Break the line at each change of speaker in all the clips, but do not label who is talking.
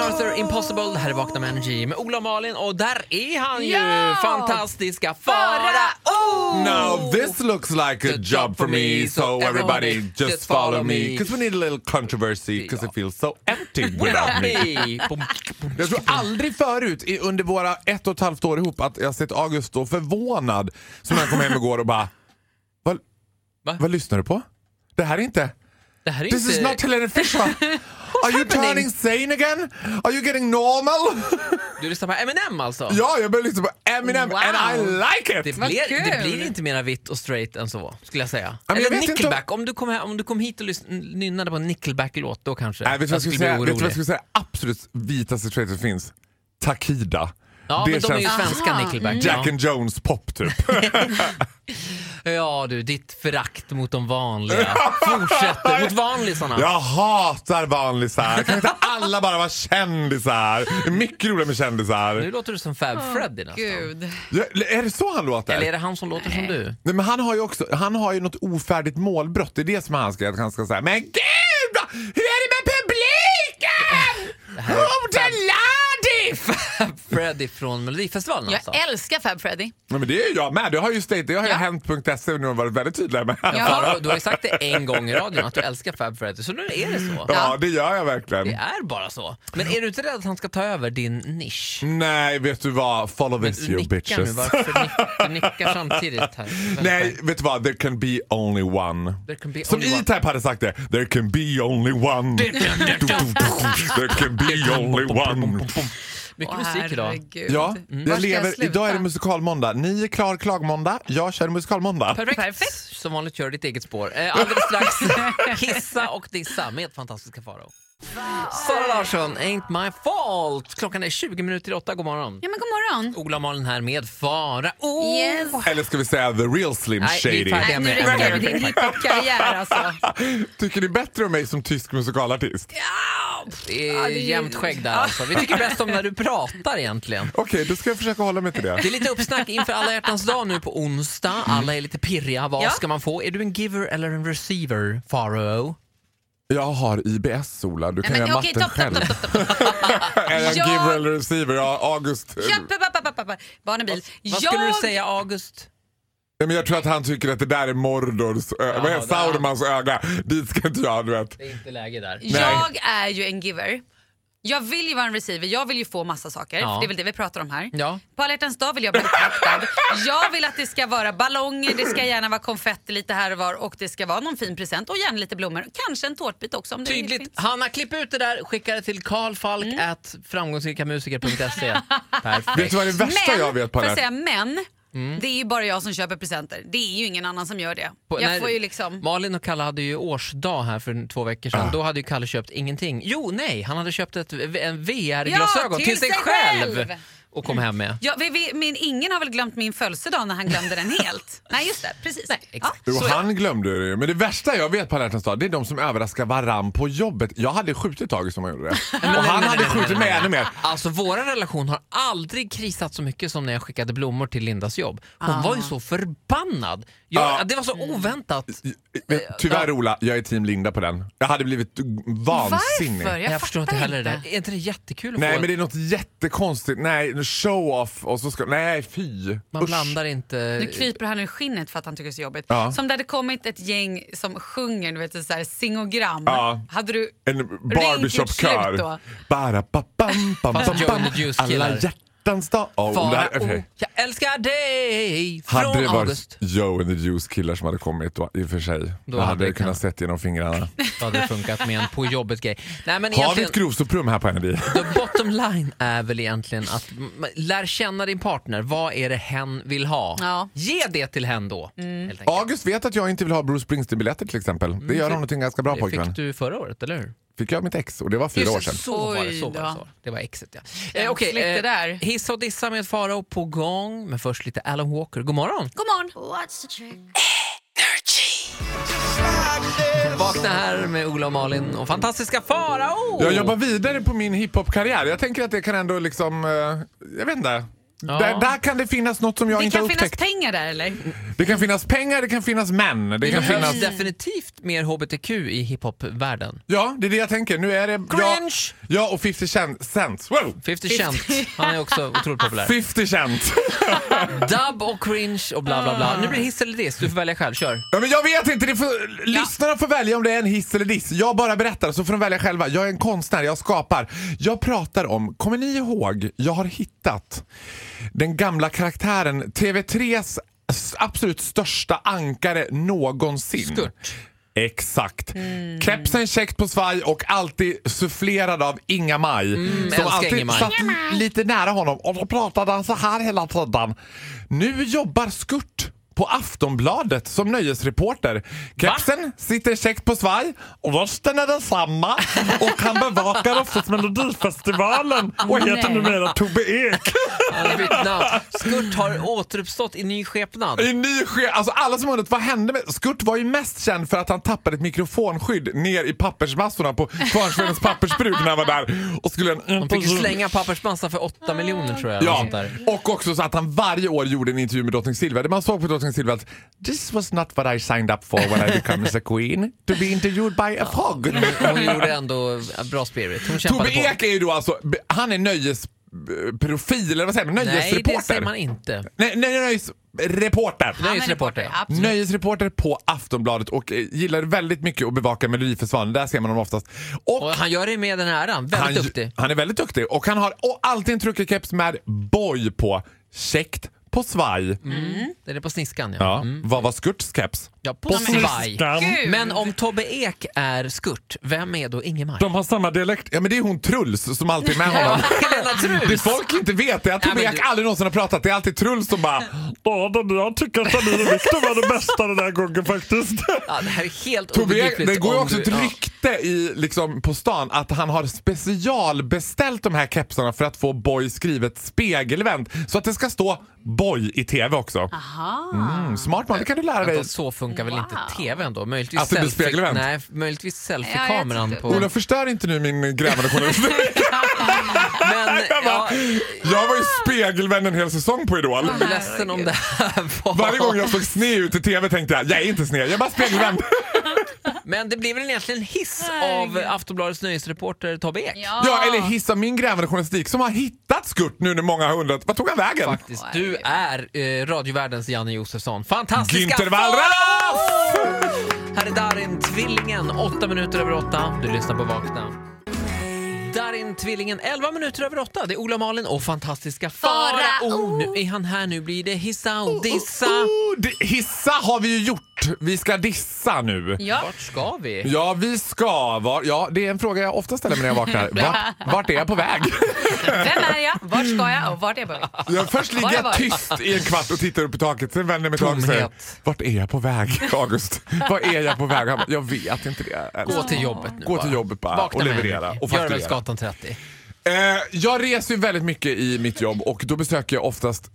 Arthur Impossible. Det här är Vakna med Energy med Ola och Malin och där är han ju!
Ja!
Fantastiska Farao!
Now this looks like a job for me, so everybody just follow me. Because we need a little controversy, because it feels so empty without me. Jag tror aldrig förut i- under våra ett och ett halvt år ihop att jag sett August stå förvånad som när han kom hem igår och bara vad,
Va?
vad lyssnar du på? Det här är inte...
Det här är
This is
inte...
not Helena Fischer! Are you
happening?
turning sane again? Are you getting normal?
Du lyssnar på Eminem alltså?
ja, jag börjar lyssna på Eminem
Wow.
and I like it!
Det
Vad
blir,
kul.
det blir inte mera vitt och straight än så, skulle jag säga.
men jag
Eller
vet inte om-
Nickelback. Om... du kom här, om du kom hit och lyssn- nynnade på en Nickelback-låt, då kanske
Nej, vet du vad jag skulle säga? Vet du
bli
vad jag
orolig.
skulle säga? Absolut vitaste straight som finns. Takida.
Ja, men de är ju Mm. svenska
Aha,
Nickelback.
Mm. Jack and Jones pop typ.
ja. ja du, ditt förakt mot de vanliga fortsätter. Mot vanlisarna.
Jag hatar vanlisar. Kan inte alla bara vara kändisar? Det är mycket roligare med
Nu
kändisar.
låter du som Fab Freddy nästan.
Gud.
Ja, Är det så han låter?
Eller är det han som låter som du?
Nej, men han har ju också han har ju något ofärdigt målbrott. Det är det som han ska, att han ska säga. Men gud! Hur är det med publiken?
här är
Hodeladif!
Fab Freddy från Melodifestivalen alltså?
Jag älskar Fab Freddy.
Nej, men det är jag med. Det har ju state, det har ju
Ja.
hänt.se E nu har varit väldigt tydliga med.
Ja, du har ju sagt det en gång i radion att du älskar Fab Freddy, så nu är det så.
Ja, det gör jag verkligen.
Det är bara så. Men är du inte rädd att han ska ta över din nisch?
Mm.
Nej, vet du vad? Follow this
Du
you
nickar nu,
bitches.
varför nick, du nickar samtidigt här?
Nej, vet du vad? There can be only one.
There can be
Som
only one.
E-Type hade sagt det. There can be only one. There can be only one.
Mycket
Åh,
musik idag.
herregud.
Ja,
Mm. Var
jag
ska jag
lever.
sluta?
Idag är det musikalmåndag. Ni är klar klagmåndag. Jag kör musikalmåndag.
Perfekt.
Perfekt.
Som vanligt kör du ditt eget spår. Eh, alldeles strax hissa och dissa med fantastiska Farao. Sara Larsson, Ain't My Fault. Klockan är 20 minuter i åtta. God morgon.
Ja, men god morgon.
Ola och Malin här med Farao.
Yes.
Eller ska vi säga the real Slim
Nej, vi
Shady?
tar det.
Nej, nu rycker vi din hiphop-karriär alltså.
Tycker ni bättre om mig som tysk musikalartist?
Det är
Ja, det är ju-
jämnt skägg där alltså. Vi tycker bäst om när du pratar egentligen.
Okej, då ska jag försöka hålla mig till det.
Det är lite uppsnack inför alla hjärtans dag nu på onsdag. Alla är lite pirriga. Vad
Mm. Ja.
ska man få? Är du en giver eller en receiver, Farao?
Jag har IBS, Ola. Du kan
Men
göra
okej,
matten
topp,
själv.
topp, topp, topp, topp.
Är jag
Jag-
giver eller receiver? Ja, August. eh,
Köp, upp, upp, upp, upp, upp. Barnabil.
Vad skulle du säga, August?
Ja, men jag tror att han tycker att det där är Mordors, ö- vad heter
det är-
Saurmans öga. Dit ska inte jag, du vet.
Det är inte läge där.
Jag är ju en giver. Jag vill ju vara en receiver, jag vill ju få massa saker.
Ja.
För det är väl det vi pratar om här.
Ja.
På alla hjärtans dag vill jag bli uppvaktad. Jag vill att det ska vara ballonger, det ska gärna vara konfetti lite här och var och det ska vara någon fin present och gärna lite blommor. Kanske en tårtbit också om det
Tydligt.
finns.
Hanna, klipp ut det där. Skicka det till karlfalk
Mm.
at framgångsrikamusiker.se.
Vet
Perfekt.
du vad det värsta jag vet på Mm.
får
den
jag
här?
säga, men det är ju bara jag som köper presenter. Det är ju ingen annan som gör det.
På-
jag
när-
får ju liksom...
Malin och Kalle hade ju årsdag här för två veckor
Ah.
sedan. Då hade ju Kalle köpt ingenting. Jo, nej, han hade köpt ett, en VR-glasögon
Ja,
till,
till
sig
sig
själv.
själv.
och kom hem med.
Ja, vi, vi, men ingen har väl glömt min födelsedag när han glömde den helt? Nej just det, precis. Ja.
Exakt.
Jo,
Så-
han glömde det ju. Men det värsta jag vet på alla hjärtans dag, det är de som överraskar varann på jobbet. Jag hade skjutit August om han gjorde det. Och han hade skjutit mig ännu mer.
Alltså vår relation har aldrig krisat så mycket som när jag skickade blommor till Lindas jobb. Hon var
Ah.
ju så förbannad. Jag,
Ja.
Det var så oväntat.
Men Tyvärr Ola, jag är team Linda på den. Jag hade blivit vansinnig.
Varför?
Jag,
Jag,
förstår inte
fattar
heller det där. Är inte det jättekul att
Nej
få
men det är något jättekonstigt. Nej, show-off och så ska... Nej, fy.
Man
Usch.
blandar inte...
Nu kryper han ur skinnet för att han tycker det är så jobbigt.
Ja.
Som det hade kommit ett gäng som sjunger, du vet så här singogram.
Ja.
Hade du
En
Ring till slut
barbershop-kör.
då.
Bara ba bam bam
Fast
bam
Joe
bam.
and the Juice
Alla
killar.
hjärtans dag. Oh, det
Fara,
här- okej.
jag älskar dig! Från
Hade det varit
August.
Joe and the Juice killar som hade kommit då, i och för sig, då hade,
hade det
jag kunnat sett genom fingrarna.
Då hade det funkat med en på jobbet-grej. Nej, men
Har vi
egentligen-
ett grovsoprum här på Energy?
The bottom line är väl egentligen att m- lär känna din partner. Vad är det hen vill ha?
Ja.
Ge det till hen då. Helt enkelt.
August vet att jag inte vill ha Bruce Springsteen-biljetter till exempel. Det gör honom till en ganska bra
Det
pojkvän.
fick du förra året, eller hur?
Fick jag mitt ex och det var fyra
Just
år
det,
sedan.
Så var det,
Oj
så var det.
då.
Så. Det var exet ja. Eh,
Känsligt
Okej,
det där.
hissa och dissa med Farao på gång. Men först lite Alan Walker. God morgon!
God morgon.
Vakna här med Ola och Malin och fantastiska Farao!
Jag jobbar vidare på min hiphop-karriär. Jag tänker att det kan ändå liksom, eh, jag vet inte. Där, där kan det finnas något som jag
Det
inte har
kan finnas
upptäckt.
pengar där eller?
det kan finnas pengar, det kan finnas män. Det
Det
kan
behövs
finnas...
definitivt mer hbtq i hiphop-världen.
Ja, det är det jag tänker. Nu är det...
Cringe!
Ja, ja och 50 cent. cents. Wow.
50 Cent, han är också otroligt populär.
50 cent.
Dub och cringe och bla bla bla. Nu blir det hiss eller diss, du får välja själv. Kör!
Ja, men jag vet inte, det får, lyssnarna får välja om det är en hiss eller diss. Jag bara berättar så får de välja själva. Jag är en konstnär, jag skapar. Jag pratar om, kommer ni ihåg, jag har hittat den gamla karaktären TV3s s- absolut största ankare någonsin.
Skurt.
Exakt.
Mm.
Kepsen käckt på svaj och alltid sufflerad av Inga-Maj. som
Mm. älskar
alltid
Inga-Maj.
satt lite nära honom och då pratade han så här hela tiden. Nu jobbar Skurt på Aftonbladet som nöjesreporter. Kepsen sitter käckt på svaj, rösten är densamma och han bevakar oftast Melodifestivalen och heter
Nej.
numera Tobbe Ek.
Han har bytt namn. Skurt har återuppstått i ny skepnad.
I ny ske- alltså alla som undrat vad hände med... Skurt var ju mest känd för att han tappade ett mikrofonskydd ner i pappersmassorna på Kvarnsvedens pappersbruk när han var där. Och skulle en
De fick ju slänga pappersmassa för
Ah.
8 miljoner tror jag. eller
Ja,
Sånt där.
och också så att han varje år gjorde en intervju med drottning Silvia där man såg på drottning Silvia att this was not what I signed up for when I became a queen, to be interviewed by a frog.
Hon gjorde ändå bra spirit. Hon kämpade
Tobbe Ek är ju då alltså, han är nöjesprofil, eller vad säger man,
på. Nej, det
nöjesreporter?
säger man inte.
Nej, nej, nöjesreporter.
är ju supporter, ja.
Absolut.
Nöjesreporter på Aftonbladet och eh, gillar väldigt mycket att bevaka Melodifestivalen. Där ser man honom oftast. Och
Och han gör det med den här äran. Väldigt
han,
duktig.
han är väldigt duktig och han har och alltid en truckerkeps med boj på. Käckt på svaj.
Mm. Den är på sniskan ja.
Ja. Vad var Skurts keps?
Ja, på Mm. svaj.
Gud.
Men om Tobbe Ek är Skurt, vem är då Ingemar?
De har samma dialekt. Ja men det är hon Truls som alltid är med honom.
Helena
Det
Trus!
folk inte vet är att Tobbe
Nej, men
Ek
du-
aldrig någonsin har pratat. Det är alltid Truls som bara...
Ja, den, jag tycker att Danilo Victor var det bästa den här gången faktiskt.
Ja, det här är helt
Tobbe Ek,
obegripligt.
det går ju
om
också
du-
ett rykte i, liksom, på stan att han har specialbeställt de här kepsarna för att få Boy skrivet spegelvänt. Så att det ska stå Boy i TV också.
Aha.
Mm, smart man, det kan du lära
Vänta,
dig.
så funkar väl inte
Wow.
tv ändå? Möjligtvis
Att det blir spegelvänt?
Nej, möjligtvis
Ja, jag
selfie-kameran
tyckte-
på...
Ola, förstör inte nu min grävande journalistik.
Men,
Jag
ja,
bara, Jag var ju spegelvänd en hel säsong på Idol.
jag är ledsen om det här var...
Varje gång jag såg sned ut i TV tänkte jag, jag är inte sned, jag är bara spegelvänd.
Men det blir väl egentligen hiss av
Herregud.
Aftonbladets nyhetsreporter Tobbe Ek?
Ja, eller hissa min grävande journalistik som har hittat Skurt nu när många har undrat, vad tog han vägen?
Faktiskt, du är eh, radiovärldens Janne Josefsson. Fantastiska
Günther Wallraff!
Farao! Här är Darin Tvillingen, 8 minuter över 8. Du lyssnar på Vakna. Darin Tvillingen, 11 minuter över 8. Det är Ola Malin och fantastiska
Farao.
Farao. Nu är han här, nu blir det hissa och dissa.
Oh, det- hissa har vi ju gjort. Vi ska dissa nu.
Ja.
Vart ska vi?
Ja, vi ska. Var, ja, det är en fråga jag ofta ställer mig när jag vaknar. Vart, vart är jag på väg?
Vem är jag? Vart ska jag? Och vart är jag på väg?
Jag först ligger
Var har
jag
jag
tyst i en kvart och tittar upp i taket. Sen vänder jag mig till August och säger,
Tomhet.
vart är jag på väg, August? Vart är jag på väg? Han bara, Jag vet inte det.
Gå till jobbet nu
Gå till
bara.
jobbet bara
Vakna
och
med
leverera
Henrik.
och fakturera.
Görvelsgatan 30.
Eh, jag reser ju väldigt mycket i mitt jobb och då besöker jag oftast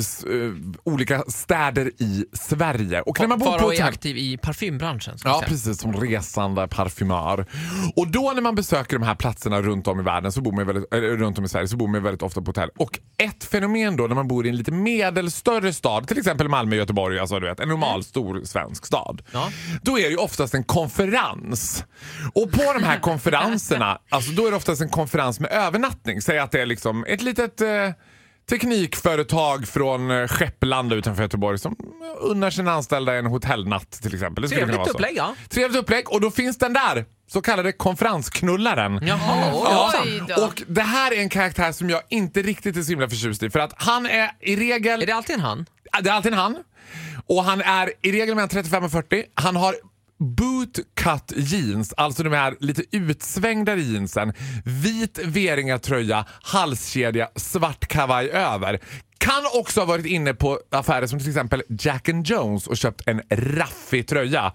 s- eh, olika städer i Sverige. Och när man bor på
Farao är
hotell...
aktiv i parfymbranschen. ska vi
Ja,
säga.
precis. Som resande parfymör. Och då när man besöker de här platserna runt om i världen så bor man ju väldigt, eller, runt om i Sverige så bor man ju väldigt ofta på hotell. Och ett fenomen då när man bor i en lite medelstörre stad, till exempel Malmö, Göteborg, alltså du vet, en normal stor svensk stad.
Ja.
Då är det ju oftast en konferens. Och på de här konferenserna, alltså då är det oftast en konferens med övernattning. Säg att det är liksom ett litet eh, teknikföretag från eh, Skepplanda utanför Göteborg som unnar sina anställda en hotellnatt till exempel. Det skulle
Trevligt
kunna vara så.
upplägg, ja.
Trevligt upplägg och då finns den där så kallade konferensknullaren.
Jaha, oj.
Ja,
Oj då.
och det här är en karaktär som jag inte riktigt är så himla förtjust i för att han är i regel...
Är det alltid en han?
Ah, Det är alltid en han. Och han är i regel mellan 35 och 40. Han har bootcut jeans, alltså de här lite utsvängda jeansen. Vit V-ringad tröja, halskedja, svart kavaj över. kan också ha varit inne på affärer som till exempel Jack and Jones och köpt en raffig tröja.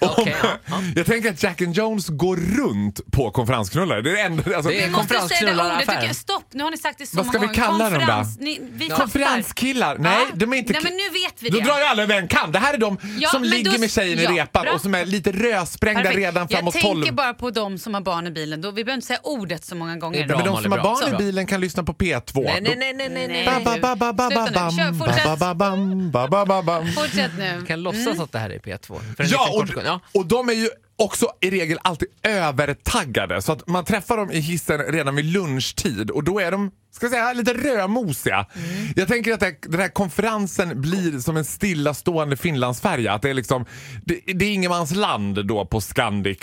Och
Okej, ja, ja.
Jag tänker att Jack and Jones går runt på konferensknullar. Det är det enda, alltså,
Det är
Vi måste säga det ordet.
konferensknullaraffären.
Tycker jag, stopp, nu har ni sagt det så
Vad ska
många
vi
gånger.
kalla dem då?
Konferens, Ni, vi fattar.
Konferenskillar? Nej,
Ja.
de är inte...
Nej,
ki-
men nu vet vi
Då
det.
drar ju alla över en kam. Det här är de
Ja,
som
men
ligger
då-
med tjejen
ja,
i repan
bra.
och som är lite rödsprängda
Perfekt.
redan framåt
jag
12.
tänker bara på de som har barn i bilen. Då, vi behöver inte säga ordet så många gånger.
Det är bra.
Men de
Malin,
som har
bra.
barn
Så.
i bilen kan lyssna på P2.
Nej, nej, nej, nej, nej, nej.
Ba, ba, ba, ba, ba, ba,
Sluta nu. Kör,
bam,
fortsätt.
ba, ba, bam, ba, ba, ba, bam.
Fortsätt nu.
kan låtsas att det här är P2. För en
Mm. Ja
liten kort sekund.
och,
ja.
och de är ju också i regel alltid övertaggade. Så att man träffar dem i hissen redan vid lunchtid och då är de ska jag säga, lite rödmosiga.
Mm.
Jag tänker att det här, den här konferensen blir som en stillastående Finlandsfärja. Att det, är liksom, det, det är ingenmansland då på Scandic.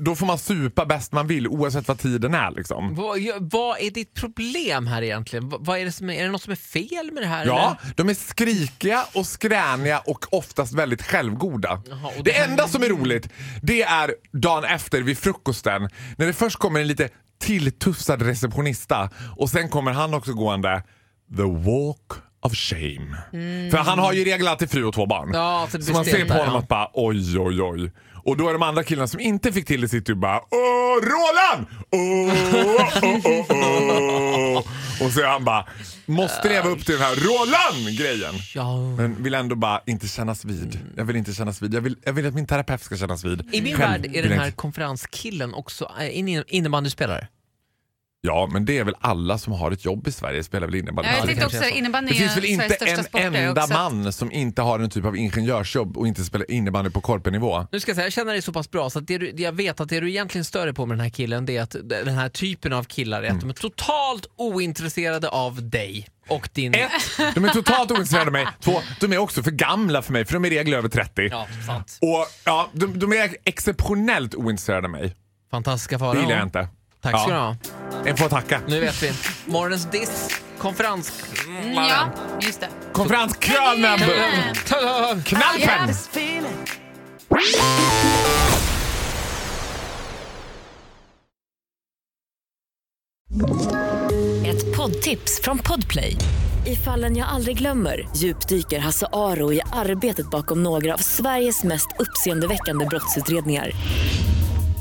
Då får man supa bäst man vill oavsett vad tiden är. Liksom.
Vad, ja, vad är ditt problem här egentligen? Vad, vad är, det som är, är det något som är fel med det här?
Ja,
eller?
de är skrikiga och skräniga och oftast väldigt självgoda.
Jaha, och det
det
här-
enda som är roligt, det är dagen efter vid frukosten när det först kommer en lite tilltufsad receptionista och sen kommer han också gående the walk of shame. För han har ju i regel alltid fru och två barn.
Mm. Ja, så det blir
man ser
stelt
på
där,
honom
ja.
att bara oj, oj, oj. Och då är de andra killarna som inte fick till det sitter ju bara Åh, Roland! Åh, åh, åh, åh. Och så är han bara, måste leva upp till den här Roland-grejen.
Ja.
Men vill ändå bara inte kännas vid. Jag vill inte kännas vid. Jag vill, jag vill att min terapeut ska kännas vid.
I min
Själv
värld är
vill
den
jag
här
inte-
konferenskillen också eh, in- innebandyspelare.
Ja, men det är väl alla som har ett jobb i Sverige spelar väl innebandy.
Ja, jag
det
tänkte
kanske
också
är så.
innebandyn
Det
är
finns väl
Sveriges
inte
största sport,
en
det har jag
enda
också sett.
man som inte har en typ av ingenjörsjobb och inte spelar innebandy på korpenivå.
Nu ska jag säga, jag känner dig så pass bra så att det du, jag vet att det du egentligen stör dig på med den här killen det är att den här typen av killar
Mm.
är att de är totalt ointresserade av dig och din...
Ett, de är totalt ointresserade av mig. Två, de är också för gamla för mig för de är i regel över 30.
Ja, sant.
Och ja, de, de är exceptionellt ointresserade av mig.
Fantastiska faror.
Det gillar jag inte.
Tack ska
Ja.
du ha.
En får tacka.
Nu vet vi. Morgonens diss, konferens...
Mm, Ja, just det.
Konferenskranen! Knalpen!
Ett poddtips från Podplay. I fallen jag aldrig glömmer djupdyker Hasse Aro i arbetet bakom några av Sveriges mest uppseendeväckande brottsutredningar.